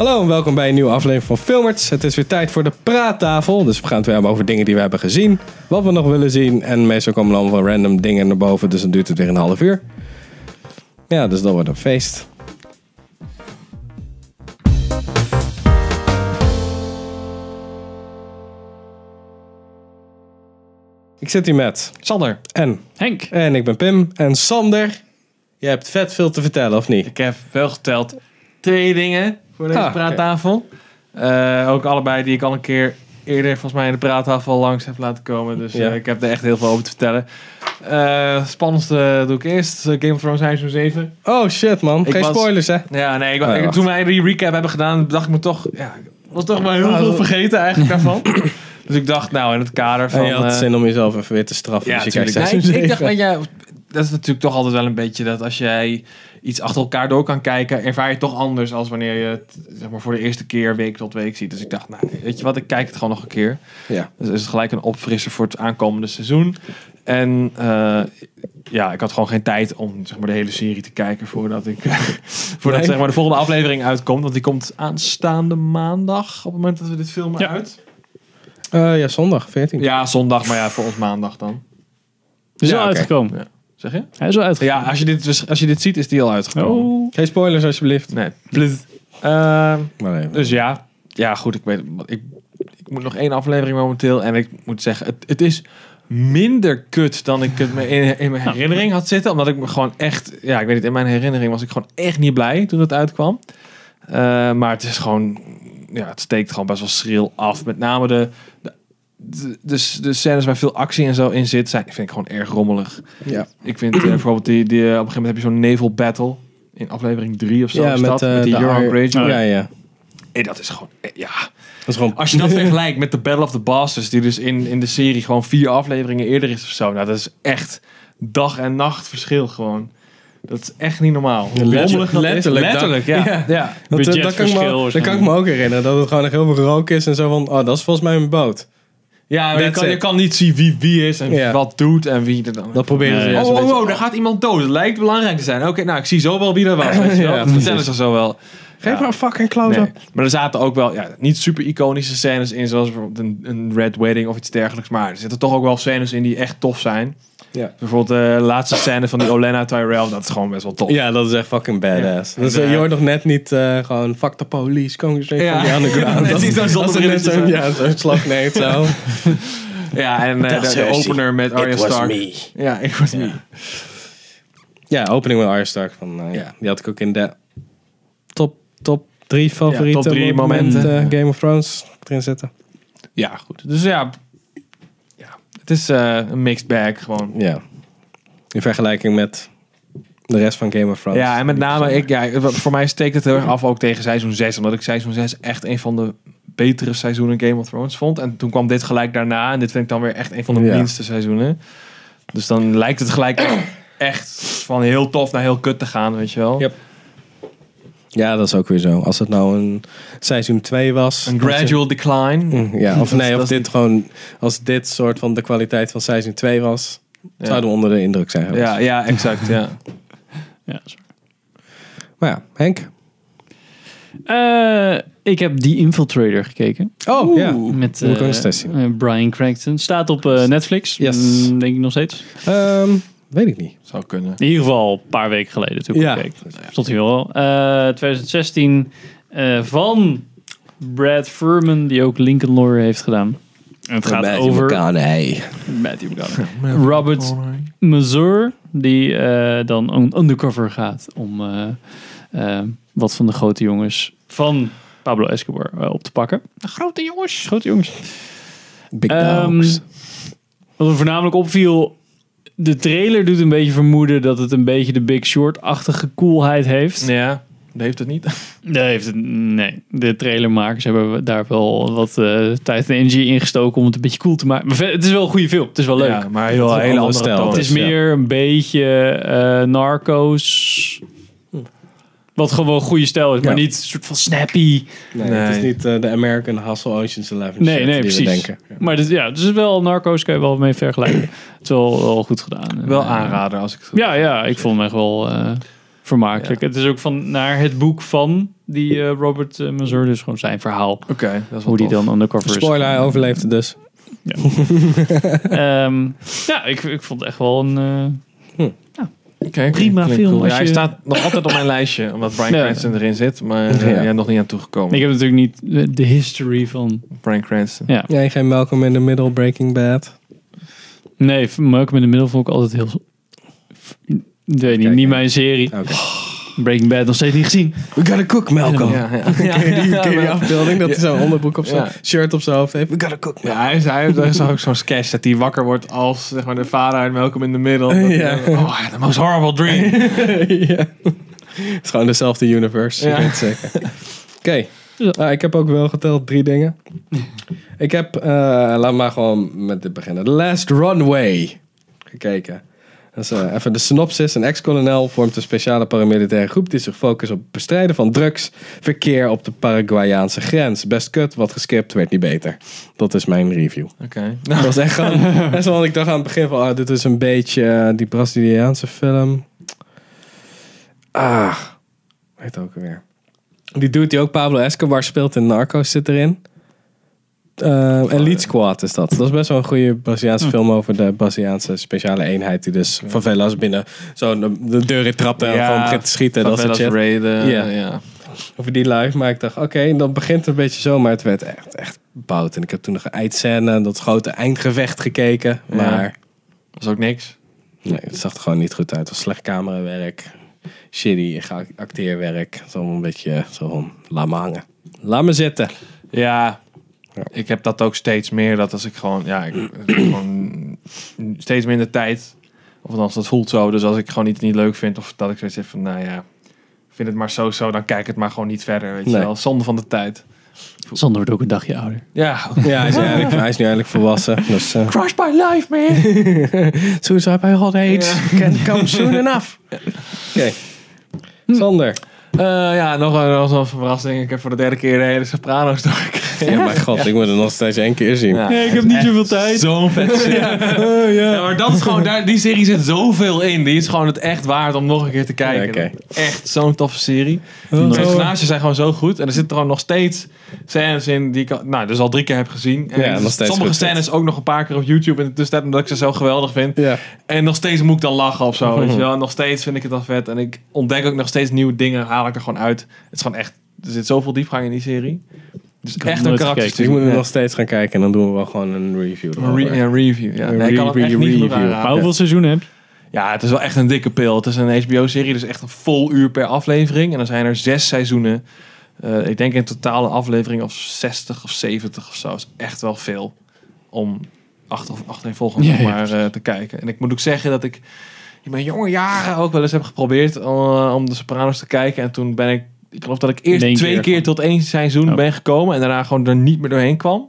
Hallo en welkom bij een nieuwe aflevering van Filmerts. Het is weer tijd voor de praattafel. Dus we gaan het weer hebben over dingen die we hebben gezien, wat we nog willen zien. En meestal komen er allemaal random dingen naar boven, dus dan duurt het weer een half uur. Ja, dus dat wordt een feest. Ik zit hier met Sander. en Henk. en ik ben Pim en Sander. Je hebt vet veel te vertellen, of niet? Ik heb wel geteld twee dingen voor deze Ah, oké. praattafel. Eh, ook allebei die ik al een keer eerder volgens mij in de praattafel langs heb laten komen. Dus eh, Ja. ik heb er echt heel veel over te vertellen. Eh, spannendste doe ik eerst. eh, Game of Thrones seizoen 7. Oh shit man, Ik geen was- spoilers hè? Ja, nee. Ik, Oh, ja, ik- wacht. toen wij die recap hebben gedaan, dacht ik me toch... Ja, ik was toch maar heel Ah, veel dat- vergeten eigenlijk daarvan. Dus ik dacht, nou, in het kader van... en je had eh, zin om jezelf even weer te straffen. Ja, dus je tuurlijk. kijkt Nee, seizoen ik dacht, zeven. dat ja, dat is natuurlijk toch altijd wel een beetje dat als jij iets achter elkaar door kan kijken, ervaar je het toch anders als wanneer je het zeg maar, voor de eerste keer week tot week ziet. Dus ik dacht, nou, weet je wat, ik kijk het gewoon nog een keer. Ja. Dus is het gelijk een opfrisser voor het aankomende seizoen. En eh, ja, ik had gewoon geen tijd om zeg maar, de hele serie te kijken voordat ik voordat Nee. zeg maar, de volgende aflevering uitkomt. Want die komt aanstaande maandag, op het moment dat we dit filmen, Ja. uit. Eh, ja, zondag 14. Ja, zondag, maar ja, voor ons maandag dan. Is Ja, al oké. uitgekomen. Zeg je? Hij is al Ja, uitgekomen. als je dit, dus- als je dit ziet, is die al uitgekomen. Oh. Geen spoilers alsjeblieft. Nee. Ehm, Maar even. dus ja. Ja, goed. Ik, weet, ik, ik moet nog één aflevering momenteel. En ik moet zeggen, het, het is minder kut dan ik het me in, in mijn herinnering had zitten. Omdat ik me gewoon echt... Ja, ik weet niet. In mijn herinnering was ik gewoon echt niet blij toen het uitkwam. Eh, maar het is gewoon... Ja, het steekt gewoon best wel schril af. Met name de... de de, de, de scènes waar veel actie en zo in zit, zijn, vind ik gewoon erg rommelig. ja. Ik vind eh, bijvoorbeeld die, die, eh, op een gegeven moment heb je zo'n naval battle. In aflevering 3 of zo. Ja, is met, dat, eh, met die de Euron Ar- Bridge. Ja, ja. Nee, dat is gewoon... eh, Ja. Dat is gewoon... Als je dat vergelijkt met de Battle of the Bastards... die dus in, in de serie gewoon vier afleveringen eerder is of zo. Nou, dat is echt dag en nacht verschil gewoon. Dat is echt niet normaal. Hoe Letter- rommelig dat is. letterlijk, Letterlijk, dat- ja. ja. ja. dat, eh, dat, dat, kan ik budgetverschil me, dat kan ik waarschijnlijk. me ook herinneren. Dat het gewoon echt heel veel rook is en zo van... Oh, dat is volgens mij mijn boot. Ja, maar je, That's kan, je it. kan niet zien wie wie is en Ja. wat doet en wie er dan... Dat proberen ze Nee. juist oh, een oh, beetje- oh, daar gaat iemand dood. Het lijkt belangrijk te zijn. Oké, nou, ik zie zo wel wie er was. Weet je wel. Ja, dat vertellen ze zo wel. Geef Ja. maar een fucking Oh, close-up. Nee, Maar er zaten ook wel ja, niet super iconische scènes in, zoals bijvoorbeeld een, een Red Wedding of iets dergelijks. Maar er zitten toch ook wel scènes in die echt tof zijn. Ja. Bijvoorbeeld de laatste scène van die Olena Tyrell, dat is gewoon best wel tof. Ja, dat is echt fucking badass. Ja. Dus, eh, Ja. je hoort nog net niet eh, gewoon... Fuck the police, come straight Ja. from the underground. Net niet zo'n dat is net zonnebrilletje zo'n zo. ja, zo'n slag neemt zo. Ja, en eh, de, de opener met Arya Stark. Ja, it was me. Ja, opening met Arya Stark. Van, eh, Ja. Die had ik ook in de top, top drie favoriete top drie eh, momenten. Game of Thrones erin zitten. Ja, goed. Dus ja, ja het is eh, een mixed bag gewoon. Ja. In vergelijking met de rest van Game of Thrones. Ja, en met name, ik, ja, wat- voor mij steekt het heel erg af ook tegen seizoen 6. Omdat ik seizoen 6 echt een van de betere seizoenen Game of Thrones vond. En toen kwam dit gelijk daarna. En dit vind ik dan weer echt een van de Ja. minste seizoenen. Dus dan lijkt het gelijk echt van heel tof naar heel kut te gaan, weet je wel. Ja. Ja, dat is ook weer zo. Als het nou een seizoen 2 was. Een dat gradual decline. je- Ja, of Dat- nee, dat of is dit gewoon. Als dit soort van de kwaliteit van seizoen 2 was. Ja, Zouden we onder de indruk zijn geweest. ja, ja, exact, ja. Ja, sorry. Maar ja, Henk. Eh, ik heb The Infiltrator gekeken. Oh, ja. Met Moet ik eh, ook eens testen. eh, Brian Cranston. Staat op eh, Netflix. Yes. Mm, denk ik nog steeds. Ehm, weet ik niet. Zou kunnen. In ieder geval een paar weken geleden toen ik Ja. ja. keek. Stond hier wel. Eh, 2016 eh, van Brad Furman, die ook Lincoln Lawyer heeft gedaan. En het gaat over Nee. Matthew McConaughey. Robert Mazur, die eh, dan on- undercover gaat om eh, eh, wat van de grote jongens van Pablo Escobar eh, op te pakken. Grote jongens. Grote jongens. Big Ehm, dogs. wat me voornamelijk opviel, de trailer doet een beetje vermoeden dat het een beetje de Big Short-achtige coolheid heeft. Ja, dat heeft het niet. Nee, heeft het- nee. de trailermakers hebben daar wel wat eh, tijd en energie in gestoken om het een beetje cool te maken. Maar ver- het is wel een goede film. Het is wel leuk. Ja, maar heel, een hele andere andere stijl. toon. Het is Ja. meer een beetje eh narco's. Wat gewoon goede stijl is, maar Ja. niet een soort van snappy. Nee, Nee. het is niet eh, de American Hustle Ocean's Eleven Nee, shit nee, die precies. we denken. Maar dit, ja, het is wel narco's, kan je wel mee vergelijken. Het is wel, wel goed gedaan. En, Wel eh, aanrader als ik het Ja, ja, ik vond hem echt wel eh, vermakelijk. Het is ook van naar het boek van die eh, Robert eh, Mazur, dus gewoon zijn verhaal. Oké, dat is wel Hoe die tof. dan undercover is. Spoiler, hij overleeft het dus. Ehm, ja, ik, ik vond het echt wel een... eh, Oké, Prima klinkt film cool. als Ja, hij je- staat nog altijd op mijn lijstje, omdat Brian Ja. Cranston erin zit. Maar eh, Ja. ja. nog niet aan toegekomen. ik heb natuurlijk niet de- de history van... Brian Cranston. Ja. Jij geen Welcome in the Middle, Breaking Bad. Nee, Malcolm in the Middle vond ik altijd heel... f- Ik weet niet, Kijk, niet ja. mijn serie. Oké. Breaking Bad nog steeds niet gezien. Oh, We gotta cook, Malcolm. Ja, ja. Ken je die, ken je die afbeelding? Dat hij zo'n onderbroek op zijn Ja. shirt op zijn hoofd heeft. We gotta cook, Ja, hij is, hij heeft- er is ook zo'n sketch dat hij wakker wordt als zeg maar, de vader uit Malcolm in the Middle. Dat hij Ja. dan, Oh, the most horrible dream. ja. Het is gewoon dezelfde universe, Ja. ik weet het zeker. Oké, Ja. Nou, ik heb ook wel geteld drie dingen. Ik heb, eh, laat maar gewoon met dit beginnen. The Last Runway gekeken. Dat is, eh, even de synopsis. Een ex-kolonel vormt een speciale paramilitaire groep die zich focust op het bestrijden van drugs, verkeer op de Paraguayaanse grens. Best kut, wat geskipt, werd niet beter. Dat is mijn review. Oké. Dat was echt gewoon. Best wel, want ik dacht aan het begin van, ah, dit is een beetje eh, die Braziliaanse film. Ah, hoe heet het ook weer. Die dude die ook Pablo Escobar speelt in Narcos zit erin. Eh, Elite Squad is dat. Dat is best wel een goede Braziliaanse Hm. film over de Braziliaanse speciale eenheid die dus favelas binnen zo de, de deur in trapt en Ja, gewoon begint te schieten. en Dat soort Favelas shit raiden. Ja. Ja. over die live. Maar ik dacht, oké, dan begint het een beetje zo. Maar het werd echt, echt bout. En ik heb toen nog een eindscène en dat grote eindgevecht gekeken. Ja. Maar Was ook niks. nee, het zag er gewoon niet goed uit. Het was slecht camerawerk. Shitty ge- acteerwerk. Zo een beetje zo van, laat me hangen. Laat me zitten. Ja. Ja. Ik heb dat ook steeds meer. Dat als ik gewoon, ja, ik, gewoon steeds minder tijd. Of althans, dat voelt zo. Dus als ik gewoon iets niet leuk vind, of dat ik zoiets heb van, nou ja, vind het maar zo zo, dan kijk het maar gewoon niet verder. Weet je Nee. wel, zonde van de tijd. Sander wordt ook een dagje ouder. Ja. Ja, hij is, nu eigenlijk- hij is nu eigenlijk volwassen. Dus, eh Crush by life, man. Suicide by old age. Ja. Can come soon enough. Oké. Hm. Sander. Eh, ja, nog een, nog een verrassing. Ik heb voor de derde keer de hele Sopranos doorgekregen. Ja, mijn god, ik moet het nog steeds één keer zien. Ja, ik heb niet zoveel tijd. Zo'n vet Eh, Ja, maar dat is gewoon, daar, die serie zit zoveel in. Die is gewoon het echt waard om nog een keer te kijken. Ja, oké. Echt zo'n toffe serie. Oh. De personages zijn gewoon zo goed. En er zitten gewoon nog steeds scènes in die ik al- nou, dus al drie keer heb gezien. En Ja, nog steeds sommige goed scènes ook nog een paar keer op YouTube in de tussentijd. Omdat ik ze zo geweldig vind. Ja. En nog steeds moet ik dan lachen of zo. Weet je wel? En nog steeds vind ik het dan vet. En ik ontdek ook nog steeds nieuwe dingen. Haal ik er gewoon uit. Het is gewoon echt, er zit zoveel diepgang in die serie. Dus Ik heb echt nog een nooit karakter. gekeken, Dus ik moet Ja. er nog steeds gaan kijken en dan doen we wel gewoon een review. Een re- erover. ja, review. Ja. Een Nee, ik kan het echt review, niet genoeg review. aanraden. Maar hoeveel seizoenen heb je? Ja, het is wel echt een dikke pil. Het is een HBO-serie, dus echt een vol uur per aflevering. En dan zijn er zes seizoenen. Eh, ik denk in totale aflevering of 60 of 70 of zo. is echt wel veel om acht of acht volgende Ja, nog ja, maar eh, te kijken. En ik moet ook zeggen dat ik in mijn jonge jaren ook wel eens heb geprobeerd eh, om de Sopranos te kijken. En toen ben ik, ik geloof dat ik eerst In één twee keer. keer, tot één seizoen Oh. ben gekomen. En daarna gewoon er niet meer doorheen kwam.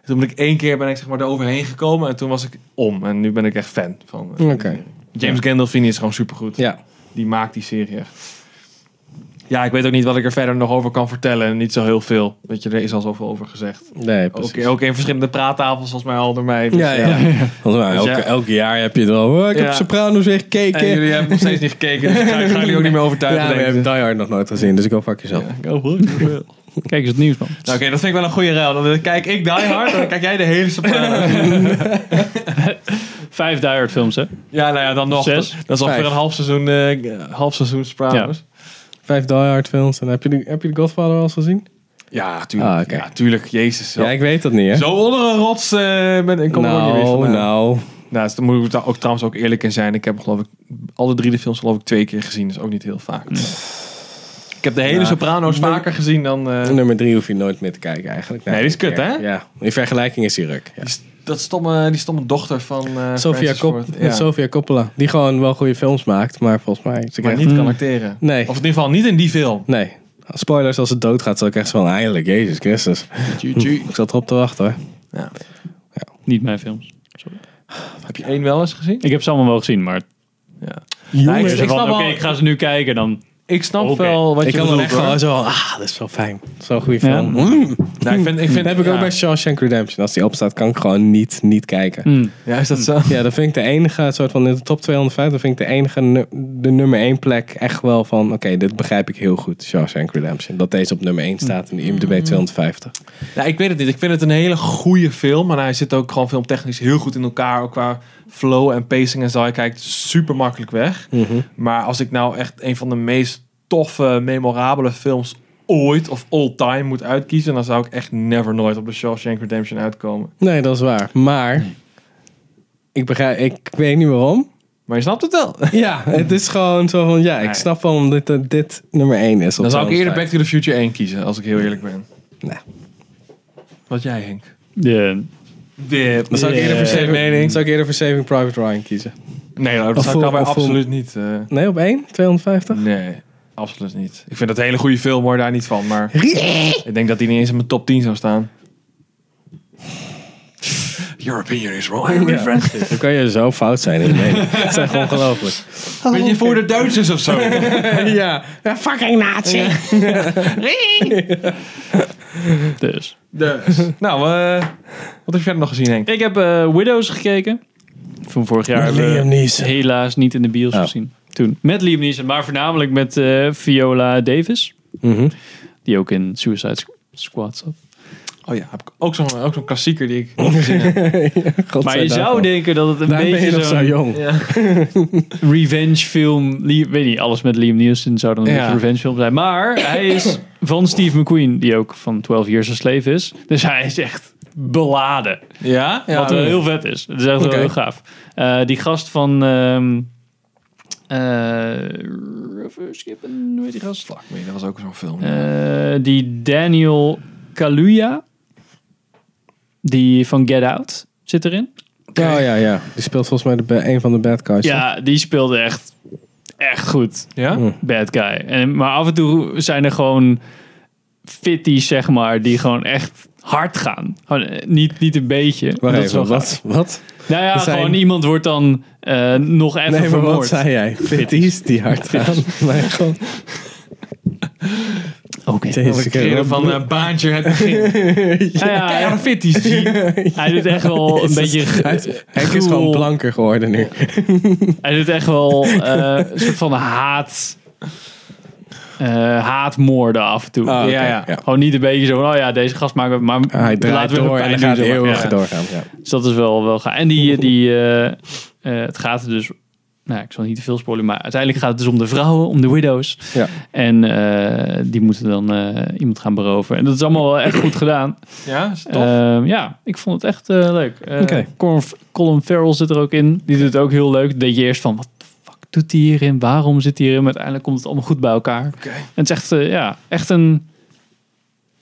En Toen ben ik één keer ben ik zeg maar er overheen gekomen en toen was ik om. En nu ben ik echt fan van. eh, Oké. James Gandolfini is gewoon supergoed. Ja. Die maakt die serie echt. Ja, ik weet ook niet wat ik er verder nog over kan vertellen. Niet zo heel veel. Weet je, er is al zoveel over gezegd. Nee, Ook, precies. ook in verschillende praattafels volgens mij al door mij. Dus, Ja, ja. eh, Want, nou, Dus elke, ja. elk jaar heb je er al. "Oh, ik heb Ja. Sopranos weer gekeken. En jullie hebben nog steeds niet gekeken, dus ik ga, ik ga jullie ook niet meer ja, overtuigen. maar je denk ik. hebt Die Hard nog nooit gezien, dus ik hoop fuck jezelf. Oh, eh, Kijk eens het nieuws, man. Nou, Oké, dat vind ik wel een goede ruil. Dan kijk ik Die Hard en dan kijk jij de hele Sopranos. Vijf Die Hard films, hè? Ja, nou ja, dan nog. Zes. Dat is ongeveer Vijf. een half seizoen, eh, half seizoen Sopranos. Vijf Die Hard films. En heb je de, heb je de Godfather al eens gezien? Ja, tuurlijk. Ah, oké. Ja, tuurlijk. Jezus. Zo, Ja, ik weet dat niet, hè? zo onder een rots eh, ben ik. Kom er ook niet nou, meer vandaan. nou. Nou, dus daar moet ik daar ook trouwens ook eerlijk in zijn. Ik heb geloof ik alle drie de films geloof ik twee keer gezien. Dus ook niet heel Mm. vaak. Nou, Ik heb de hele Ja. Soprano's vaker gezien dan... eh, Nummer drie hoef je nooit meer te kijken, eigenlijk. Nee, die is kut, ja. hè? Ja. In vergelijking is die ruk. Ja. die, s- dat stomme, die stomme dochter van eh Sofia, Francis Cop Ford. Ja. met Sofia Coppola. Die gewoon wel goede films maakt, maar volgens mij... Ze Maar krijgt- niet kan Mm. acteren. Nee. Of in ieder geval niet in die film. Nee. Spoilers, als het doodgaat, zal ik echt zo van... Eindelijk, Jezus Christus. Ik zat erop te wachten, hoor. Niet mijn films. Heb je één wel eens gezien? Ik heb ze allemaal wel gezien, maar... Ja. Ik, ik, zei ik van, snap, Oké, wel, ik ga ze nu kijken, dan... ik snap Oké. wel wat ik je kan bedoelt. dan echt gewoon hoor. zo van, ah, dat is wel fijn. Zo'n goede Ja. film. Mm. Nou, ik vind, ik vind, Dat heb ik ook ja. bij Shawshank Redemption. Als die opstaat, kan ik gewoon niet, niet kijken. Mm. Ja, is dat zo? Ja, dat vind ik de enige, soort van in de top 250, vind ik de enige, nu- de nummer 1 plek echt wel van, oké, dit begrijp ik heel goed, Shawshank Redemption. Dat deze op nummer 1 staat in de IMDb 250. Ja, ik weet het niet. Ik vind het een hele goede film. Maar hij zit ook gewoon filmtechnisch heel goed in elkaar. Ook qua flow en pacing en zo. Hij kijkt super makkelijk weg. Maar als ik nou echt een van de meest toffe, memorabele films ooit of all time moet uitkiezen... dan zou ik echt never nooit op de Shawshank Redemption uitkomen. Nee, dat is waar. Maar, ik begrijp, ik weet niet waarom. Maar je snapt het wel. Ja, het is gewoon zo van, ja, ik Nee. snap wel dat dit, eh, dit nummer 1 is. op Dan zou ik eerder Back 250. to the Future 1 kiezen, als ik heel eerlijk ben. Nee. Wat jij, Henk? Ja. Dan zou ik eerder voor Yeah. Saving, mening. zou ik eerder voor Saving Private Ryan kiezen. Nee, nou, dat Of zou ik voor- daarbij of voor- absoluut niet... eh, Nee, op 1? 250? nee, absoluut niet. Ik vind dat een hele goede film, hoor, daar niet van. Maar ik denk dat die niet eens in mijn top 10 zou staan. Your opinion is wrong. Ja. Dan kan je zo fout zijn in je mening. Dat is echt ongelooflijk. Ben je voor de Duitsers of zo? ja. ja, fucking nazi. Dus. dus. Nou, eh, wat heb je verder nog gezien, Henk? Ik heb eh, Widows gekeken. Van vorig jaar. hebben we- Neeson. helaas niet in de bios Oh. gezien. Toen. Met Liam Neeson, maar voornamelijk met eh, Viola Davis. Mhm. Die ook in Suicide Squ- Squad zat. Oh ja, heb ik ook zo'n ook zo'n klassieker die ik nog gezien heb. maar je zou denken dat het een Daar ben je beetje nog zo zo'n jong. revenge film... Li- Weet niet, alles met Liam Neeson zou dan een Ja. beetje een revenge film zijn. Maar hij is van Steve McQueen, die ook van 12 Years a Slave is. Dus hij is echt beladen. Ja? ja wat wel heel vet is. Het is echt Oké. wel heel gaaf. Eh, die gast van... ehm eh River Skippen, hoe heet die gast? Fuck me, dat was ook zo'n film. Eh, die Daniel Kaluuya, die van Get Out, zit erin. Oh ja, ja. Die speelt volgens mij de, ba- een van de bad guys. Ja, die speelde echt, echt goed. ja? Bad guy. En, maar af en toe zijn er gewoon fitties, zeg maar, die gewoon echt hard gaan. Gewoon, eh, niet, niet een beetje. Wacht Dat is even, wel gaaf. wat? Wat? Nou ja, Er zijn- gewoon iemand wordt dan eh, nog even Nee, maar wat vermoord. zei jij? Fitties die hard gaan. Mijn god. Oké. Dat ik creëerde van eh, baantje het begin. Nou ja, Ja, hij- fitties. hij doet echt wel een beetje... Hij Henk is gewoon gruwel. blanker geworden nu. Ah, Hij doet echt wel eh, een soort van haat. eh, haatmoorden af en toe. Ah, oké, Ja, ja. Gewoon niet een beetje zo van, oh ja, deze gast maken we, maar Hij draait laten we door en dan gaat hij heel eeuwig doorgaan. Ja. Dus dat is wel, wel gaaf. En die, die eh, eh, het gaat er dus, nou ik zal niet te veel spoilen, maar uiteindelijk gaat het dus om de vrouwen, om de widows. Ja. En eh, die moeten dan eh, iemand gaan beroven. En dat is allemaal wel echt goed gedaan. Ja, is tof. Ehm, ja, ik vond het echt eh, leuk. Eh, Oké. Colin, Colin Farrell zit er ook in. Die doet het ook heel leuk. Deed je eerst van, wat de fuck doet hij hierin? Waarom zit hij hierin? Maar uiteindelijk komt het allemaal goed bij elkaar. Oké. En het is echt, eh, ja, echt een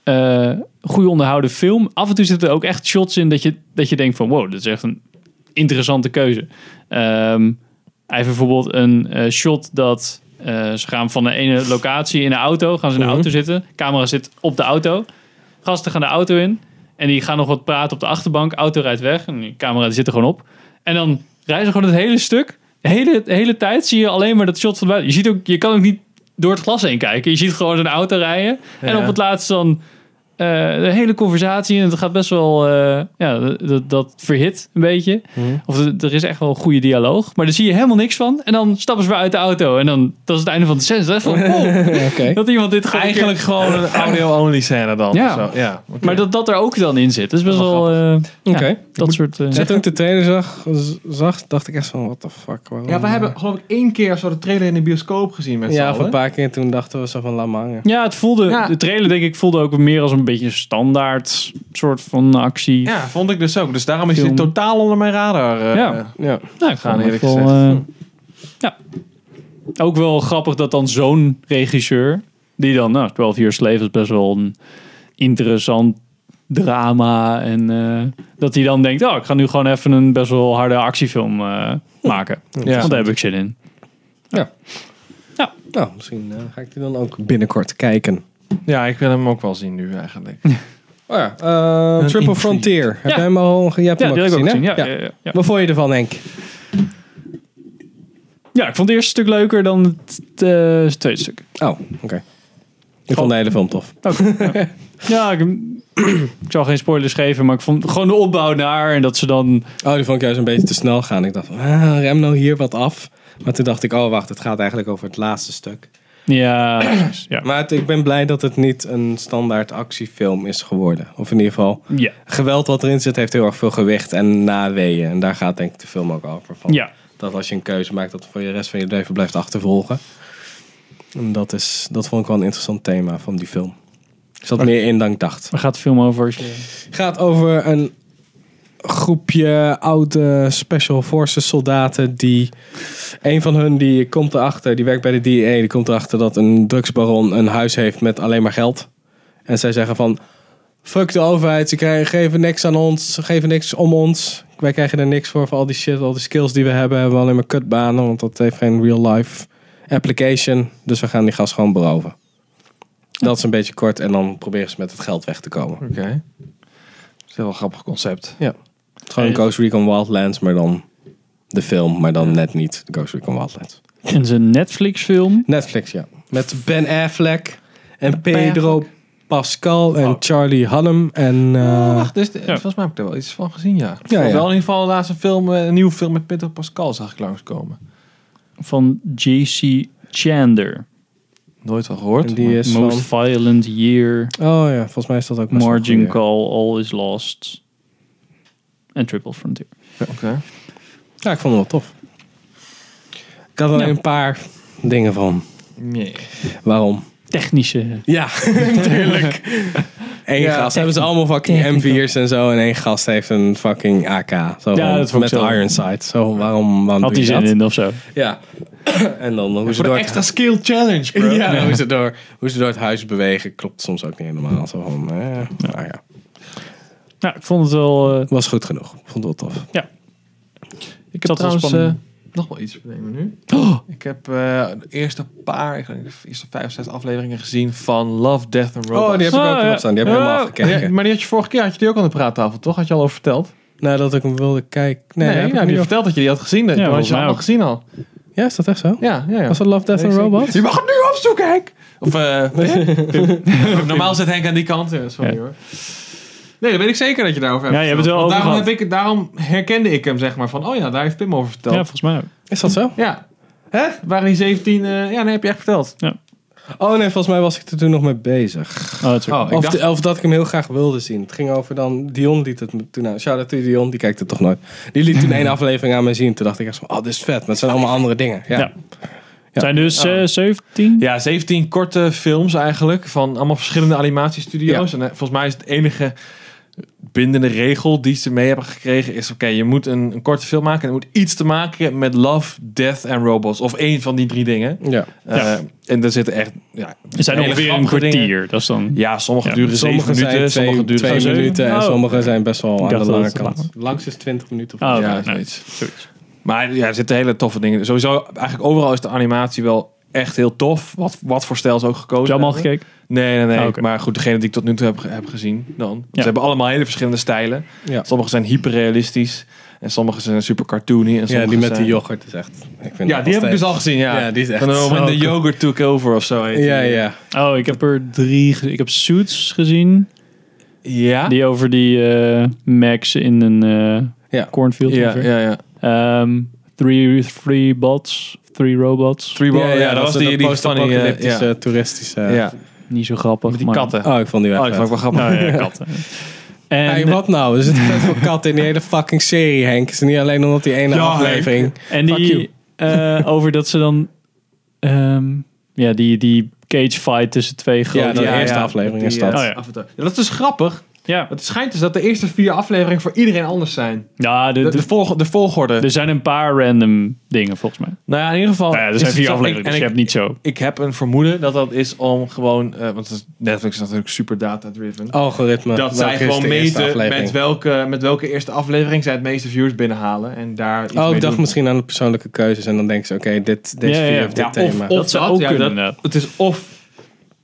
eh goede onderhouden film. Af en toe zitten er ook echt shots in dat je, dat je denkt van... wow, dit is echt een interessante keuze. Ehm, hij heeft bijvoorbeeld een eh, shot dat... eh, ze gaan van de ene locatie in de auto, gaan ze in de Mhm. auto zitten. Camera zit op de auto. Gasten gaan de auto in. En die gaan nog wat praten op de achterbank. Auto rijdt weg. En die camera die zit er gewoon op. En dan reizen ze gewoon het hele stuk. De hele, de hele tijd zie je alleen maar dat shot van buiten. Je, ziet ook, je kan ook niet door het glas heen kijken. Je ziet gewoon een auto rijden. En Ja. op het laatst dan eh, de hele conversatie. En het gaat best wel... eh, ja, dat- dat, dat verhit een beetje. Hmm. Of er- er is echt wel een goede dialoog. Maar daar zie je helemaal niks van. En dan stappen ze weer uit de auto. En dan, dat is het einde van de scène. Dat is van, wow, Oké. dat iemand dit gewoon een keer- Eigenlijk gewoon een audio-only scène dan. Ja. of zo. ja oké. Maar dat dat er ook dan in zit. Dat is best Wel wel... eh, Oké. ja, dat soort... eh, Ja, toen ik de trailer zag, z- zag, dacht ik echt van, what the fuck. waarom? eh? Ja, we hebben geloof ik één keer of zo de trailer in de bioscoop gezien met z'n Ja, allen. voor een paar keer toen dachten we zo van, laat me hangen. Ja, het voelde, Ja. de trailer denk ik voelde ook meer als een beetje een standaard soort van actie. Ja, vond ik dus ook. Dus daarom is Film. hij totaal onder mijn radar. eh, Ja. eh, Ja. nou, ik vond Gaan, het eerlijk wel, gezegd. eh, ja. Ook wel grappig dat dan zo'n regisseur, die dan, nou, 12 Years Slave is best wel een interessant drama. En eh, dat hij dan denkt, oh, ik ga nu gewoon even een best wel harde actiefilm eh, maken. Want daar heb ik zin in. Nou, misschien eh, ga ik die dan ook binnenkort kijken. ja, ik wil hem ook wel zien nu eigenlijk. Oh ja, eh, Een Triple intrigue. Frontier. Heb Ja. jij hem al ge- jij hebt Ja, hem die ook heb ik ook gezien, gezien. hè? Ja, ja. Ja, ja. Wat vond je ervan, Henk? Ja, ik vond het eerste stuk leuker dan het eh, tweede stuk. Oh, oké. Ik vond de hele film tof. Oké. ja. Ja, ik, ik zal geen spoilers geven, maar ik vond gewoon de opbouw naar en dat ze dan. Oh, die vond ik juist een beetje te snel gaan. Ik dacht, van, ah, rem nou hier wat af. Maar toen dacht ik, oh wacht, het gaat eigenlijk over het laatste stuk. Ja, precies, ja. Maar het- ik ben blij dat het niet een standaard actiefilm is geworden. Of in ieder geval, ja. geweld wat erin zit heeft heel erg veel gewicht en naweeën. En daar gaat denk ik de film ook over. Van. ja. Dat als je een keuze maakt, dat voor je rest van je leven blijft achtervolgen. En dat, is, dat vond ik wel een interessant thema van die film. Er zat meer in dan ik dacht. Waar gaat de film over? als je- gaat over een groepje oude special forces soldaten die een van hun die komt erachter die werkt bij de DEA die komt erachter dat een drugsbaron een huis heeft met alleen maar geld en zij zeggen van fuck de overheid ze krijgen, geven niks aan ons ze geven niks om ons wij krijgen er niks voor voor al die shit al die skills die we hebben hebben we alleen maar kutbanen want dat heeft geen real life application dus we gaan die gas gewoon beroven dat is een beetje kort en dan proberen ze met het geld weg te komen Oké. Dat is een wel grappig concept. Gewoon Ghost Recon Wildlands, maar dan de film, maar dan net niet de Ghost Recon Wildlands. En zijn Netflix-film. Netflix, ja. Met Ben Affleck en Pedro Pascal en Oh. Charlie Hunnam en... eh, Oh, wacht, dus de- ja. volgens mij heb ik er wel iets van gezien, ja. Ja, Of ja. Wel in ieder geval de laatste film, eh, een nieuwe film met Peter Pascal zag ik langskomen. van J.C. Chander. Nooit van gehoord. en die is Most van... Violent Year, Oh ja, volgens mij is dat ook best wel Margin een goeie. Call, All Is Lost en Triple Frontier. Oké. Ja, ik vond hem wel tof. Ik had alleen een paar dingen van. Nee. Waarom? Technische. Ja, natuurlijk. Eén Ja, gast. Hebben ze allemaal fucking M4's en zo. En één gast heeft een fucking AK. Zo Ja, van- dat vond met ik zo. iron sight. Zo, waarom, waarom Had doe hij je zin dat? in of zo? Ja. en dan hoe ze Voor de door extra skill challenge, bro. Ja, Hoe, ze door, hoe ze door het huis bewegen klopt soms ook niet helemaal. Zo van, eh, nou ja. Nou, ik vond het wel. eh, Was goed genoeg. Vond het wel tof. Ik Dat heb was trouwens spannend. eh, nog wel iets bedenken nu. Ik heb eh, de eerste paar, ik denk de eerste vijf of zes afleveringen gezien van Love, Death and Robots. Oh, die heb ik Ah, ook ja. nog staan. Die heb ik helemaal Ja, afgekeken. ja, maar die had je vorige keer had je die ook aan de praattafel, toch? Had je al over verteld? Nou, dat ik hem wilde kijken. Nee, Nee, daar heb ja, ik heb je niet over- verteld dat je die had gezien. Ja, had volgens je mij allemaal ook. gezien al. ja, is dat echt zo? Ja, ja, ja. Was dat Love, Death and Robots? Je mag het nu opzoeken, Henk! Of, eh, Pim. Normaal zit Henk aan die kant. Ja, sorry Ja. hoor. Nee, dat weet ik zeker dat je daarover hebt. Ja, je hebt het verteld. wel Want over daarom, heb ik, daarom herkende ik hem, zeg maar, van... Oh ja, daar heeft Pim over ja, verteld. Ja. volgens mij ook. Is dat zo? Hè? Waren die 17... eh, ja, nee, heb je echt verteld. Oh nee, volgens mij was ik er toen nog mee bezig. Oh, dat is ook- Oh, ik Of, dacht... de- of dat ik hem heel graag wilde zien. Het ging over dan... Dion liet het me toen aan. Shout-out to Dion, die kijkt het toch nooit. Die liet toen één aflevering aan mij zien. Toen dacht ik echt van, oh, dit is vet. Maar het zijn allemaal andere dingen. Ja. Ja. Het zijn dus eh, 17. Ja, 17 korte films eigenlijk. Van allemaal verschillende animatiestudio's. En eh, volgens mij is het enige bindende regel die ze mee hebben gekregen... is oké, je moet een, een korte film maken... en het moet iets te maken hebben met love, death en robots. Of één van die drie dingen. ja. Eh, Ja. en daar zitten echt... Ja, Het zijn hele ongeveer een grappige kwartier. dingen. Dat is dan. Ja, sommige Ja, duren Sommige zeven zijn minuten, twee, sommige duren twee twee zeven. minuten en Oh. sommige zijn best wel aan dacht de dat lange het te kant. lang Langs is 20 minuten. Oh, oké, Ja, nee, zoiets. zoiets. Maar ja, er zitten hele toffe dingen. Sowieso, eigenlijk overal is de animatie wel echt heel tof. Wat, wat voor stijl ze ook gekozen Heb je allemaal hebben. gekeken? Nee, nee, nee. Ah, oké. Maar goed, degene die ik tot nu toe heb, ge- heb gezien dan. Want Ze hebben allemaal hele verschillende stijlen. Ja. Sommige zijn hyperrealistisch. En sommige zijn super cartoony. En Ja, sommige die met zijn... die yoghurt is echt... Ik vind Ja, die heb ik dus al gezien, ja. Ja, die is echt Van, uh, zo when the goed. yogurt took over of zo. heet die. Ja, ja. Oh, ik heb er drie. ge- Ik heb Suits gezien. Ja? Die over die eh, Max in een eh, Ja. cornfield. ja, ongeveer. ja, ja. Ehm, three, three bots. Three robots. Three Ja, Ball- ja, dat was die, die funny... eh, post-apocalyptische, ja. toeristische... Ja. Niet zo grappig. Met die maar- katten. Oh, ik vond die wel Oh, dat vet. vond ik wel grappig. Nou ja, katten. En, Hey, wat nou? Er zitten vet veel katten in die hele fucking serie, Henk. Het is niet alleen omdat die ene Ja, aflevering... en Fuck you. die eh, over dat ze dan... ehm, ja, die, die cage fight tussen twee Ja, grote... de dat- ja, eerste ja. aflevering is Die, dat. eh, Oh, ja. af en toe. Ja, dat is dus grappig. ja. Het schijnt dus dat de eerste vier afleveringen voor iedereen anders zijn. Ja, de- De, de- de, volg- de volgorde. er zijn een paar random dingen volgens mij. nou ja, in ieder geval. Dus- Nou ja, er is zijn het vier zo- afleveringen, en dus je ik- hebt niet zo. Ik heb een vermoeden dat dat is om gewoon. eh, want Netflix is natuurlijk super Oh, data-driven. Algoritme. dat Welke zij is gewoon de eerste meten aflevering? met welke, met welke eerste aflevering zij het meeste views binnenhalen. En daar. Iets Oh, mee ik dacht doen. misschien aan de persoonlijke keuzes. En dan denken ze, oké, dit, deze Ja, ja, vier ja. heeft dit Ja, of- thema. of- Dat zou dat, ook ja, kunnen dat- inderdaad. Het is of.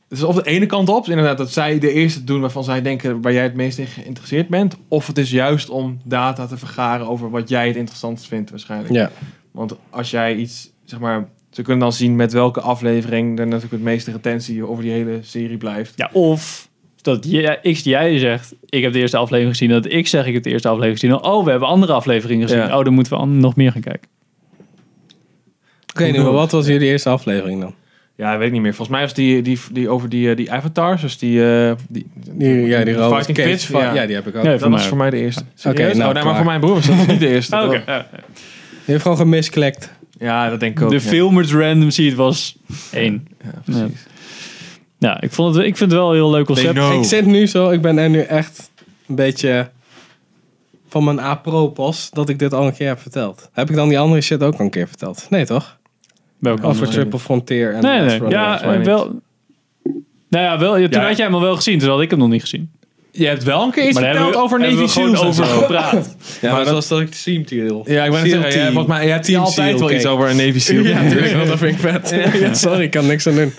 Het is of de ene kant op, inderdaad, dat zij de eerste doen waarvan zij denken waar jij het meest in geïnteresseerd bent. Of het is juist om data te vergaren over wat jij het interessantst vindt, waarschijnlijk. ja. Want als jij iets, zeg maar, ze kunnen dan zien met welke aflevering er natuurlijk het meeste retentie over die hele serie blijft. Ja, of dat jij, X jij zegt, ik heb de eerste aflevering gezien. Dat ik zeg, ik heb de eerste aflevering gezien. Oh, we hebben andere afleveringen gezien. Ja. Oh, dan moeten we an- nog meer gaan kijken. Oké, nu, maar wat was jullie eerste aflevering dan? Ja, weet ik niet meer. Volgens mij was die, die, die over die, eh, die avatars, dus die... eh die Die, ja, die Robert Fighting Cage Kids, fight- ja. ja, die heb ik ook. Nee, dat voor mij was voor ook. mij de eerste. Oké, Serieus? nou, oh, nee, maar klaar. voor mijn broer was dat niet de eerste. Oh, Dat- oké. Ja. Die heeft gewoon gemisclekt. Ja, dat denk ik ook. de ja. filmers random seed was één. Ja, precies. Ja, ik, vond het, ik vind het wel een heel leuk concept. know. Oh. Ik zit nu zo, ik ben er nu echt een beetje van mijn apropos dat ik dit al een keer heb verteld. Heb ik dan die andere shit ook al een keer verteld? Nee, toch? Welke Over andere? Triple Frontier en Nee, Last nee. Runner. Ja, volgens mij eh, niet. wel. Nou ja, wel, ja, toen Ja. had jij hem al wel gezien, toen had ik hem nog niet gezien. Je hebt wel een keer Maar daar hebben we- hebben we gewoon over gepraat. Ja, maar dat was dat ik Team Teal. Ja, ik ben Seal het Team. volgens mij, je hebt hier Team altijd Seal wel cake. iets over een Navy SEAL. Ja, natuurlijk, want dat vind ik vet. Ja, sorry, ik kan niks aan doen.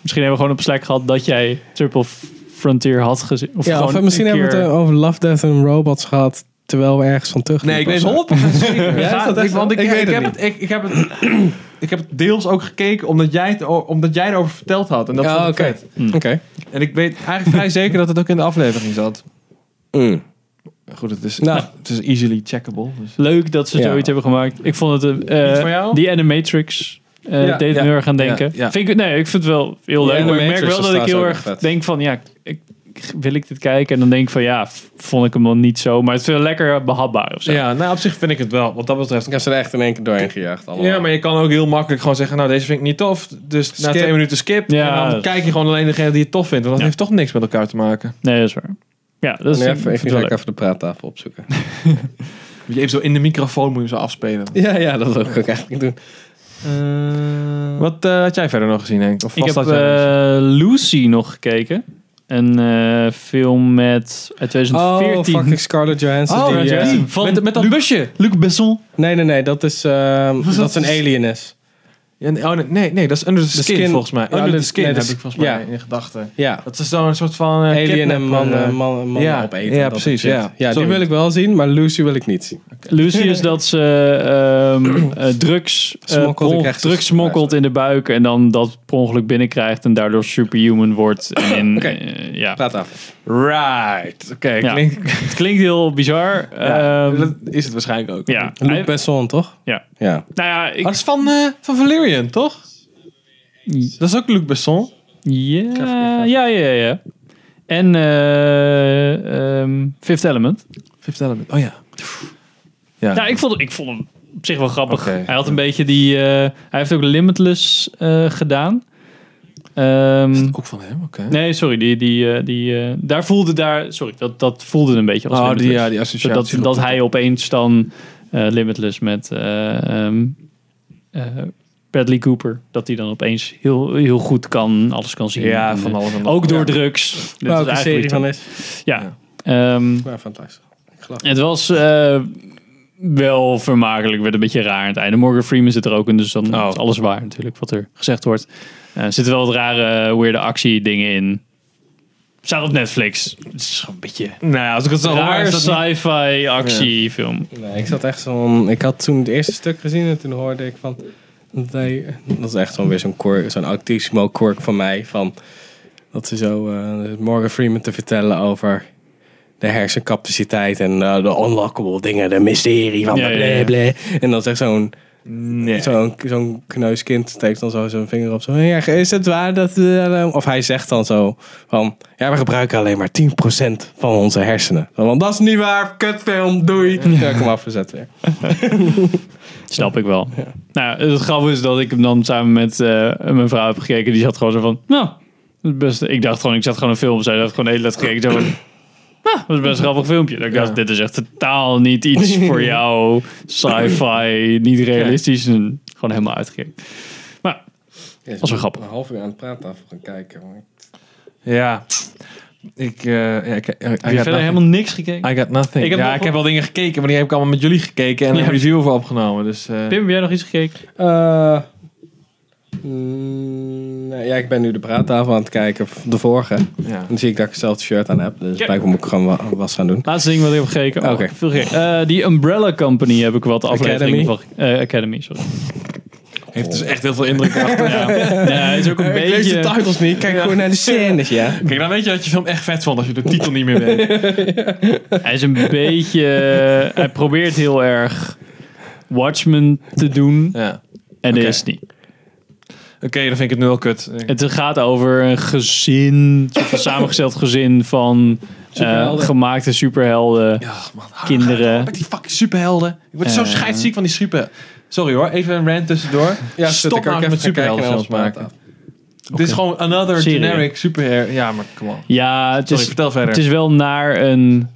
Misschien hebben we gewoon op Slack gehad dat jij Triple F- Frontier had gezien. Of Ja, gewoon of misschien een hebben we keer- het eh, over Love, Death and Robots gehad, terwijl we ergens van terug Nee, ik weet het 100% zeker. Ja, is dat echt ik, want ik, zo? ik, Ik weet het heb niet. het, ik, ik heb het, ik heb het deels ook gekeken omdat jij, het, o- omdat jij erover verteld had. En dat Ja, vond ik oké. vet. Oké. En ik weet eigenlijk vrij zeker dat het ook in de aflevering zat. Goed, het is, Nou. het is easily checkable. Dus. Leuk dat ze Ja. zoiets hebben gemaakt. Ik vond het eh, Iets voor jou? die Animatrix eh Ja, deed ja, me heel erg aan ja, denken. ja. Vind ik, nee, ik vind het wel heel Die leuk. Maar ik merk Animatrix wel dat is ik heel trouwens erg ook vet. denk van ja, ik, wil ik dit kijken? En dan denk ik van ja, f- vond ik hem wel niet zo. Maar het is wel lekker behapbaar of zo. Ja, nou op zich vind ik het wel. Wat dat betreft. Ik heb ze er echt in één keer doorheen gejaagd. Allemaal. Ja, maar je kan ook heel makkelijk gewoon zeggen, nou deze vind ik niet tof. Dus na Skip. twee minuten skip. Ja. En dan kijk je gewoon alleen degene die het tof vindt. Want dat Ja. heeft toch niks met elkaar te maken. Nee, dat is waar. Ja, dat is Nu ik even, vind ik het ga wel ik leuk. even de praattafel opzoeken. Je even zo in de microfoon moet je hem zo afspelen. ja, ja, dat wil ik ook eigenlijk doen. Wat eh, had jij verder nog gezien, Henk? Of Ik was heb dat jij- eh, Lucy nog gekeken. Een eh, film met uit 2014. Oh, fucking Scarlett Johansson. Oh, die, ja, eh, die. van met, met dat Luc- busje. Luc Besson. nee, nee, nee. Dat is, ehm, dat? dat is een alien is. Ja, nee, oh, nee, nee, nee, dat is Under the, The skin, Skin. volgens mij. Ja, Under Under the the- Skin nee, dat heb is- ik volgens mij ja. in gedachten. Ja. Dat is zo'n soort van... eh, Alien kidnapper, en man, eh, eh, man, man ja, opeten. ja, dat precies, soort ja. shit. ja die Sorry. wil ik wel zien, maar Lucy wil ik niet zien. Lucy is dat ze ehm, eh, drugs, eh, Smokkelt, dan per ongeluk- krijgt ze drugs een smokkelt in de buik en dan dat per ongeluk binnenkrijgt en daardoor superhuman wordt. En, Oké. eh, ja. Praat af. Right. Oké, Ja. klinkt... Het klinkt heel bizar. Ja, Ehm, dat is het waarschijnlijk ook. ja. Luc Hij- Besson, toch? Ja. Ja. nou ja, ik, Oh, dat is van, eh, van Valerian, toch? Dat is ook Luc Besson. ja, ja, ja, ja. En eh, ehm, Fifth Element. Fifth Element. Oh ja. Ja. Ja, ik vond, ik vond hem op zich wel grappig. Oké. Hij had een beetje die. eh, hij heeft ook Limitless eh, gedaan. Ehm, Ook van hem, oké. Nee, sorry. Die, die, eh, die, eh, daar voelde daar, sorry, dat, dat voelde een beetje als Oh, die, Limitless. ja, die associatie. dat, dat hij opeens dan eh, Limitless met eh, ehm, eh, Bradley Cooper, dat hij dan opeens heel, heel goed kan, alles kan zien. Ja, En, van eh, alles en nog. Ook door Ja. drugs. Dit Welke is serie eigenlijk van dan- is? Ja. Ehm, Maar fantastisch. Ik geloof het. het was eh, wel vermakelijk. Werd een beetje raar aan het einde. Morgan Freeman zit er ook in, dus dan Oh. is alles waar natuurlijk wat er gezegd wordt. Eh, er zitten wel wat rare, weirde actie dingen in. Staat op Netflix. Het is gewoon een beetje Nou ja, als ik het zo hoor, raar is dat niet- sci-fi actiefilm. Nee, ik zat echt zo'n... Ik had toen het eerste stuk gezien en toen hoorde ik van... Dat, hij, dat is echt zo'n weer zo'n quirk, zo'n autismo quirk van mij. Van, dat ze zo eh, Morgan Freeman te vertellen over de hersencapaciteit en eh, de unlockable dingen, de mysterie van Ja, bla, ja, ja. bla, bla. En dan zegt zo'n Nee. zo'n zo'n kneuskind, steekt dan zo zijn vinger op. Zo, ja, is het waar dat... eh, of hij zegt dan zo van... Ja, we gebruiken alleen maar 10% van onze hersenen. Want dat is niet waar, kutfilm, doei. Ja, ik heb hem afgezet weer. Snap ik wel. Nou, ja, het grappige is dat ik hem dan samen met eh, mijn vrouw heb gekeken. Die zat gewoon zo van, nou, dat is best, ik dacht gewoon, ik zat gewoon een film. Zij had gewoon de hele tijd gekeken. Zo van, nou, dat is best een grappig filmpje. Dat ik dacht, dit is echt totaal niet iets voor jou. Sci-fi, niet realistisch. En gewoon helemaal uitgekeken. Maar, Ja, was wel grappig. Een half uur aan het praten af gaan kijken. maar- Ja. Ik, eh ja, ik, Ah, I got heb je nothing. verder helemaal niks gekeken? I got nothing. Ik heb ja, nog- ik heb wel dingen gekeken, maar die heb ik allemaal met jullie gekeken en Ja. een review over opgenomen. Dus, eh, Pim, heb jij nog iets gekeken? Eh, mm, nou ja, ik ben nu de praattafel aan het kijken. De vorige. En ja. dan zie ik dat ik hetzelfde shirt aan heb. Dus Ja. blijkbaar moet ik gewoon wa- was gaan doen. Laatste ding wat ik heb gekeken. Oké. veel gekeken. Eh, die Umbrella Company heb ik wat afleveringen Academy? van. eh, Academy, sorry. Heeft dus echt heel veel indruk achter. Ja, het is ook een Ik lees beetje... de titles niet, kijk gewoon naar de scènes, ja. Kijk, dan weet je dat je film echt vet vond als je de titel niet meer weet. Hij is een beetje... hij probeert heel erg Watchmen te doen. Ja. En Oké. dat is het niet. Oké, dan vind ik het nu al kut. Het gaat over een gezin, een soort van samengesteld gezin van eh, Superhelden. gemaakte superhelden. Ja, man. Kinderen. Met die fucking superhelden. Ik word zo Eh. scheidsziek van die super... Sorry hoor, even een rant tussendoor. ja Stop zit ik nou ook even met te kijken naar superheldenfilms ons praten. maken. Dit is gewoon another Serie. generic superheld. Ja, maar come on. Ja, het Sorry, is, vertel verder. het is wel naar een.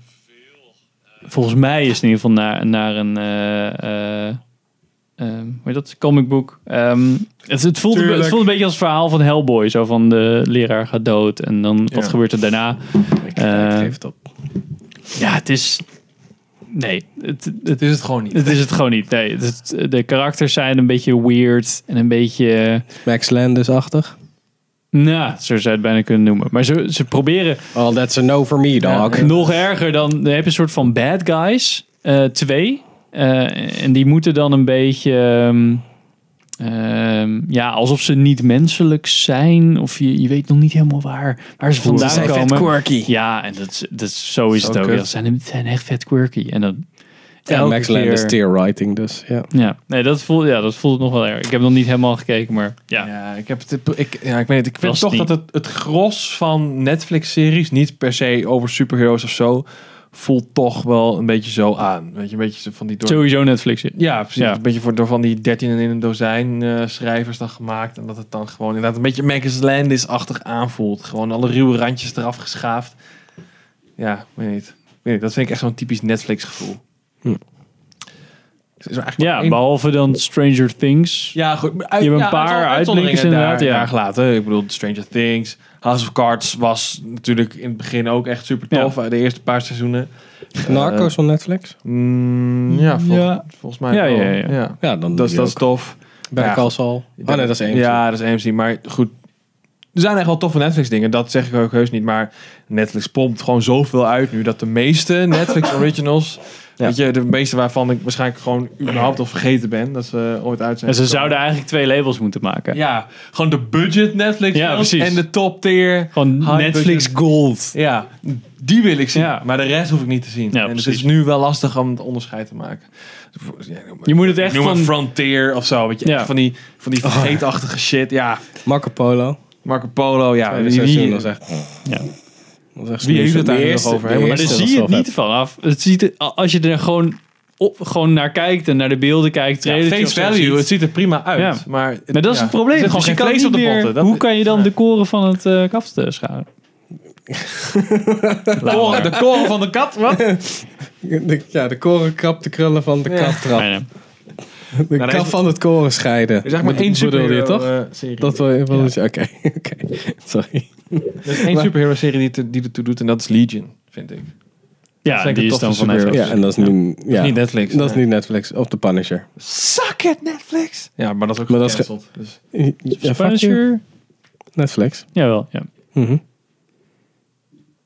Volgens mij is het in ieder geval naar, naar een. eh, eh, eh, hoe heet dat? Comic book. Ehm, het, het, voelt een, be- het Tuurlijk. voelt een beetje als het verhaal van Hellboy. Zo van de leraar gaat dood en dan wat Ja. gebeurt er daarna? Ik, Eh, ik geef het op. Ja, het is. Nee, het, het, Het is het gewoon niet. het is het gewoon niet. Nee, het- het- de karakters zijn een beetje weird en een beetje. Max Landis-achtig. Nou, zo zou je het bijna kunnen noemen. Maar ze, ze proberen Oh, that's a no for me, dog. Nog erger dan, dan heb je een soort van bad guys, eh, twee. Eh, en die moeten dan een beetje, ehm, ehm, ja, alsof ze niet menselijk zijn. Of je, je weet nog niet helemaal waar, waar ze vandaan komen. quirky. ja, en dat, is- dat, is- zo is Zo het ook. kut. Ja, Ze zijn, ze zijn echt vet quirky. En dan Ja, elke Max keer- Landis tearwriting dus, ja. Ja, nee, dat voelt, ja, dat voelt nog wel erg. Ik heb nog niet helemaal gekeken, maar ja. Ja, ik, heb het, ik, ja, ik weet het. Ik vind Was toch die- dat het, het gros van Netflix-series, niet per se over superheroes of zo, voelt toch wel een beetje zo aan. Weet je, een beetje van die door... Sowieso Netflix. Ja, precies. Ja. Een beetje voor, door van die 13 en in een dozijn eh, schrijvers dan gemaakt. En dat het dan gewoon inderdaad een beetje Magus Landis-achtig aanvoelt. Gewoon alle ruwe randjes eraf geschaafd. Ja, ik weet niet. Ik weet niet. Dat vind ik echt zo'n typisch Netflix-gevoel. Dus Hm. Is er eigenlijk maar Ja, één- behalve dan Stranger Things. ja, goed. maar Uit, Je hebt een ja, paar uitzonder- uitblinkers uitzonderingen inderdaad, daar, ja. Jaar gelaten. Ik bedoel, Stranger Things. House of Cards was natuurlijk in het begin ook echt super tof. De eerste paar seizoenen. Narcos van Netflix. Mm, ja, vol- Ja. volgens mij Ja, wel. ja, ja, ja. Ja, dan Dat, is, dat is tof. Better ja. Call Saul. Oh nee, dat is één. Ja, dat is AMC. Maar goed. Er zijn echt wel toffe Netflix dingen. Dat zeg ik ook heus niet. Maar Netflix pompt gewoon zoveel uit nu. Dat de meeste Netflix originals... Ja. Weet je, de meeste waarvan ik waarschijnlijk gewoon überhaupt al vergeten ben. Dat ze ooit uit zijn. En ze gekomen. zouden eigenlijk twee labels moeten maken. Ja, gewoon de budget Netflix Ja, films precies. en de top tier. Gewoon High Netflix budget. Gold. Ja, die wil ik zien. Ja. Maar de rest hoef ik niet te zien. Ja, en het precies. is nu wel lastig om het onderscheid te maken. Ja, noem maar- Je moet het echt noem maar van- Frontier of zo. Weet je, Ja. Oh. echt van, die, van die vergeetachtige shit. Ja, Marco Polo. Marco Polo. Ja, Ja, wie, wie, dat is echt... Ja. dat is echt Wie heeft het De daar nu nog eerste- over, hè? de Maar Maar daar eerste zie was je het wel niet vanaf. Het ziet er- als je er gewoon, op, gewoon naar kijkt en naar de beelden kijkt. ja, trailertje face of zo value. ziet. Het ziet er prima uit. Ja. Maar, het- Maar dat is ja, het probleem. Er zit Dus gewoon geen je kan vlees niet op de meer- botten. Dat- hoe kan je dan Nee. de koren van het eh kaft eh, scharen? de koren, de koren van de kat? Wat? Nou, vet. De- Ja, de koren krapt de krullen van de Ja. kat trap. Nee, nee. De daar kat is- van het koren scheiden. Er is eigenlijk maar één Bedoelde je superhero toch? eh, serie. Dat wil wil je Oké, oké. Sorry. Er is één Maar- superhero serie die, te- die ertoe doet. En dat is Legion, vind ik. Ja, vind ik die een is dan toffe van Netflix. Ja, en dat is nu... Ja. Niet Netflix. Dat is Nee. niet Netflix. Of The Punisher. Suck it, Netflix! Ja, maar dat is ook Maar maar dat is ge- gecanceld. dus. Ja, fuck you, Punisher? Netflix. Jawel, ja. Mhm.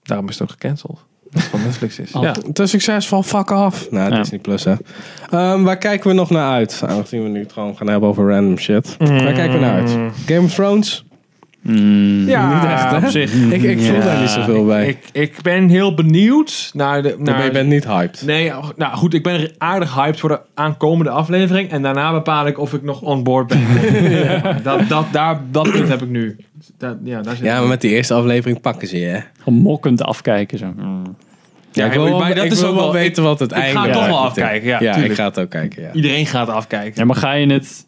Daarom is het ook gecanceld. Dat het van Netflix is. Oh. Ja. Te succesvol, fuck af. Nou, Ja. Disney Plus, hè. Ehm, waar kijken we nog naar uit? Aangezien we nu het gewoon gaan hebben over random shit. Mm. Waar kijken we naar uit? Game of Thrones? Mm. Ja, niet echt, hè? op zich. Ik, ik voel Ja. daar niet zoveel bij. Ik, ik ben heel benieuwd naar de... Maar Naar, je bent niet hyped. Nee, oh, nou goed, ik ben er aardig hyped voor de aankomende aflevering. En daarna bepaal ik of ik nog on board ben. ja. dat, dat, daar, dat punt heb ik nu. Dat, ja, daar zit Ja, maar met die eerste aflevering pakken ze je, hè? Gemokkend afkijken. Zo. Mm. Ja, ik wil wel, maar dat ik is wil ook wel wel- weten wat het ik ga einde het toch wel wordt natuurlijk. afkijken, ja, ja ik tuurlijk. ga het ook kijken, ja. Iedereen gaat afkijken. Ja, maar ga je het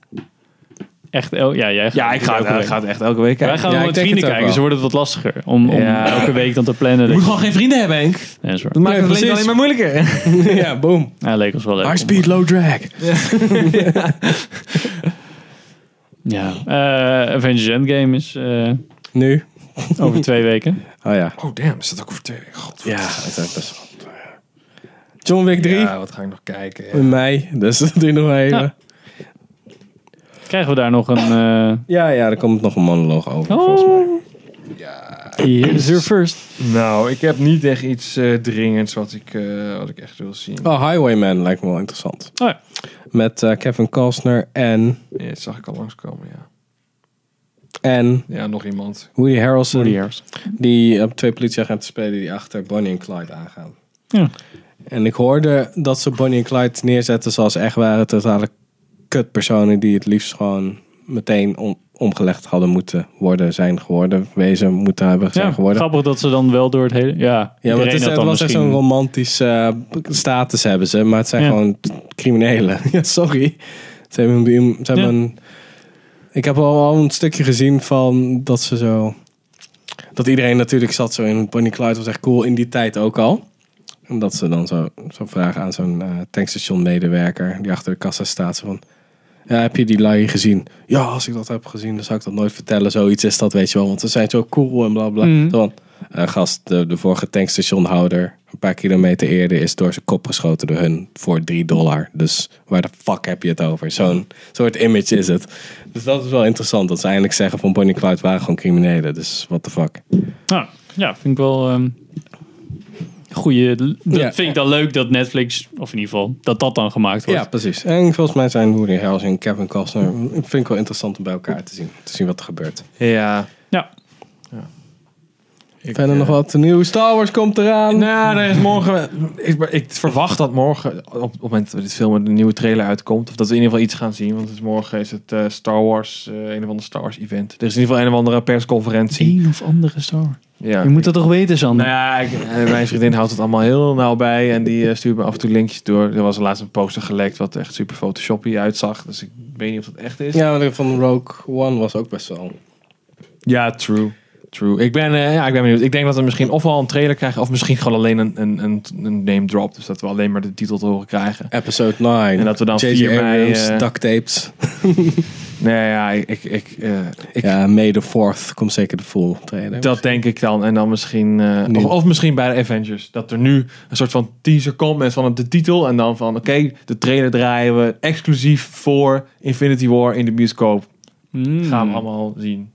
echt... El ja, jij gaat Ja, ik ga, elke het- ik week. ga het echt elke week kijken. Wij gaan Ja, wel ik met denk het vrienden ook wel. kijken, dus wordt het wat lastiger. Om, om Ja. elke week dan te plannen. Je moet gewoon geen vrienden hebben, Henk. Ja, dat is waar. Dat maakt Nee, het leven precies. alleen maar moeilijker. ja, boom. Ja, leek ons wel leuk. High om- speed, low drag. Ja. Eh, Avengers Endgame is eh, Nu? over twee weken. Oh ja. Oh damn, is dat ook over twee weken? God, Ja, dat is ook best wel... John Wick 3 Ja, wat ga ik nog kijken? ja. in mei. Dus dat duurt nog even. Ja. Krijgen we daar nog een... eh, Ja, ja, daar komt nog een monoloog over. oh. volgens mij. Oh Here's your first. Nou, ik heb niet echt iets eh, dringends wat ik, eh, wat ik echt wil zien. Oh, Highwayman lijkt me wel interessant. Oh ja. Met eh, Kevin Costner en, Ja, dat zag ik al langskomen, ja. en Ja, nog iemand. Woody Harrelson. Woody Harrelson. Die eh, twee politieagenten spelen die achter Bonnie en Clyde aangaan. Ja. En ik hoorde dat ze Bonnie en Clyde neerzetten zoals ze echt waren. Totale kutpersonen die het liefst gewoon meteen om- omgelegd hadden moeten worden, zijn geworden, wezen moeten hebben, zijn Ja, geworden. grappig dat ze dan wel door het hele... Ja, Ja, maar het, iedereen is, had het dan was echt zo'n misschien- romantische eh, status hebben ze, maar het zijn Ja. gewoon criminelen. ja, sorry. Ze hebben, een- ze hebben Ja. een- ik heb al, al een stukje gezien van dat ze zo... Dat iedereen natuurlijk zat zo in Bonnie Clyde was echt cool in die tijd ook al. En dat ze dan zo, zo vragen aan zo'n eh, tankstationmedewerker die achter de kassa staat. Zo van, ja, heb je die lui gezien? Ja, als ik dat heb gezien, dan zou ik dat nooit vertellen. Zoiets is dat, weet je wel. Want ze zijn zo cool en bla bla. Mhm. Zo van, eh, gast, de, de vorige tankstationhouder, een paar kilometer eerder, is door zijn kop geschoten door hun voor 3 dollar. Dus waar de fuck heb je het over? Zo'n soort image is het. Dus dat is wel interessant, dat ze eindelijk zeggen van Bonnie Clyde waren gewoon criminelen. Dus what the fuck. Nou, ja, vind ik wel... ehm goeie, dat Ja. vind ik dan leuk dat Netflix, of in ieder geval, dat dat dan gemaakt wordt. Ja, precies. En volgens mij zijn Woody Harrelson en Kevin Costner, mm, vind ik wel interessant om bij elkaar te zien. Te zien wat er gebeurt. Ja. Ja. Ik, Verder eh, nog wat nieuw. Star Wars komt eraan. Nou, er is morgen. Ik, ik verwacht dat morgen, op het moment dat dit film een nieuwe trailer uitkomt, of dat we in ieder geval iets gaan zien. Want het is morgen is het eh, Star Wars, eh, een of ander Star Wars event. Er is in ieder geval een of andere persconferentie. Eén of andere star. Ja. Je moet dat toch weten, Sander? Nou ja, ik- eh, mijn vriendin houdt het allemaal heel nauw bij en die eh, stuurt me af en toe linkjes door. Er was laatst een poster gelekt wat echt super photoshoppy uitzag, dus ik weet niet of dat echt is. Ja, maar die van Rogue One was ook best wel. Ja, true. True. Ik ben, eh, ja, ik ben benieuwd. Ik denk dat we misschien ofwel een trailer krijgen, of misschien gewoon alleen een, een, een, een name drop. Dus dat we alleen maar de titel te horen krijgen. Episode 9. En dat we dan J.J. 4 mei... Abrams, eh, duct tapes. nee, ja, ik... ik, ik, eh, ik ja, May the 4th komt zeker de full trailer. Dat denk ik dan. En dan misschien... eh, Nu. of, of misschien bij de Avengers. Dat er nu een soort van teaser komt met van de titel. En dan van, oké, de trailer draaien we exclusief voor Infinity War in de bioscoop. Mm. Gaan Hmm. we allemaal zien.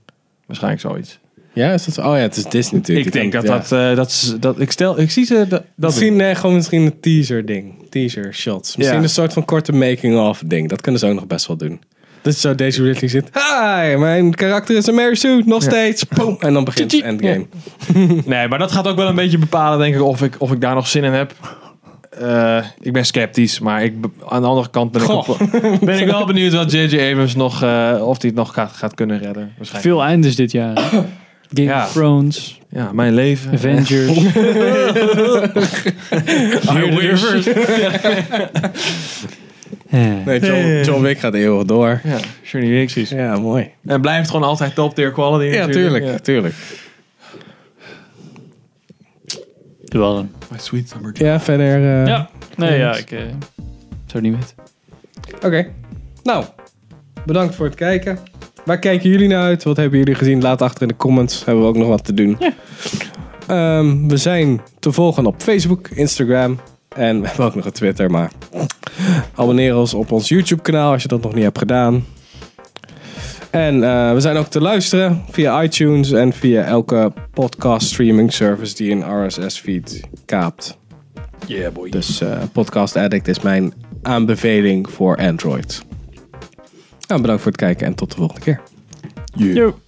Waarschijnlijk zoiets. Ja, is dat zo? Oh ja, het is Disney natuurlijk. ik denk dat ja. dat, eh, dat, is- dat... Ik stel... Ik zie ze... Dat, dat misschien, nee, gewoon misschien een teaser ding. Teaser shots. Misschien Ja. een soort van korte making-of ding. Dat kunnen ze ook nog best wel doen. Dus zo Daisy Ridley zit. Hi, mijn karakter is een Mary Sue. Nog Ja. steeds. Boom. En dan begint Tjie, het tjie. endgame. Nee, maar dat gaat ook wel een beetje bepalen, denk ik, of ik, of ik daar nog zin in heb. Eh, ik ben sceptisch, maar ik, be- aan de andere kant ben ik, Goh. ook- ben ik wel benieuwd wat J.J. Abrams nog, eh, of hij het nog gaat, gaat kunnen redden. Waarschijnlijk. Veel eindes dit jaar. Game Ja. of Thrones, Ja, mijn leven. Avengers. I wish. Eh. Nee, John, John Wick gaat eeuwig door. Ja, Journey Week. Precies. Ja, mooi. En blijft gewoon altijd top tier quality. Ja, natuurlijk. tuurlijk. Ja. tuurlijk. Wel dan. My sweet summer dream. Ja, verder. eh, Ja, nee, ja, ik eh, zou het niet weten. Oké. Nou, bedankt voor het kijken. Waar kijken jullie naar uit? Wat hebben jullie gezien? Laat achter in de comments. Hebben we ook nog wat te doen. Ja. Ehm, we zijn te volgen op Facebook, Instagram en we hebben ook nog een Twitter. Maar abonneer ons op ons YouTube kanaal als je dat nog niet hebt gedaan. En eh, we zijn ook te luisteren via iTunes en via elke podcast streaming service die een RSS feed kaapt. Yeah, boy. Dus eh, Podcast Addict is mijn aanbeveling voor Android. Nou, bedankt voor het kijken en tot de volgende keer. Yo.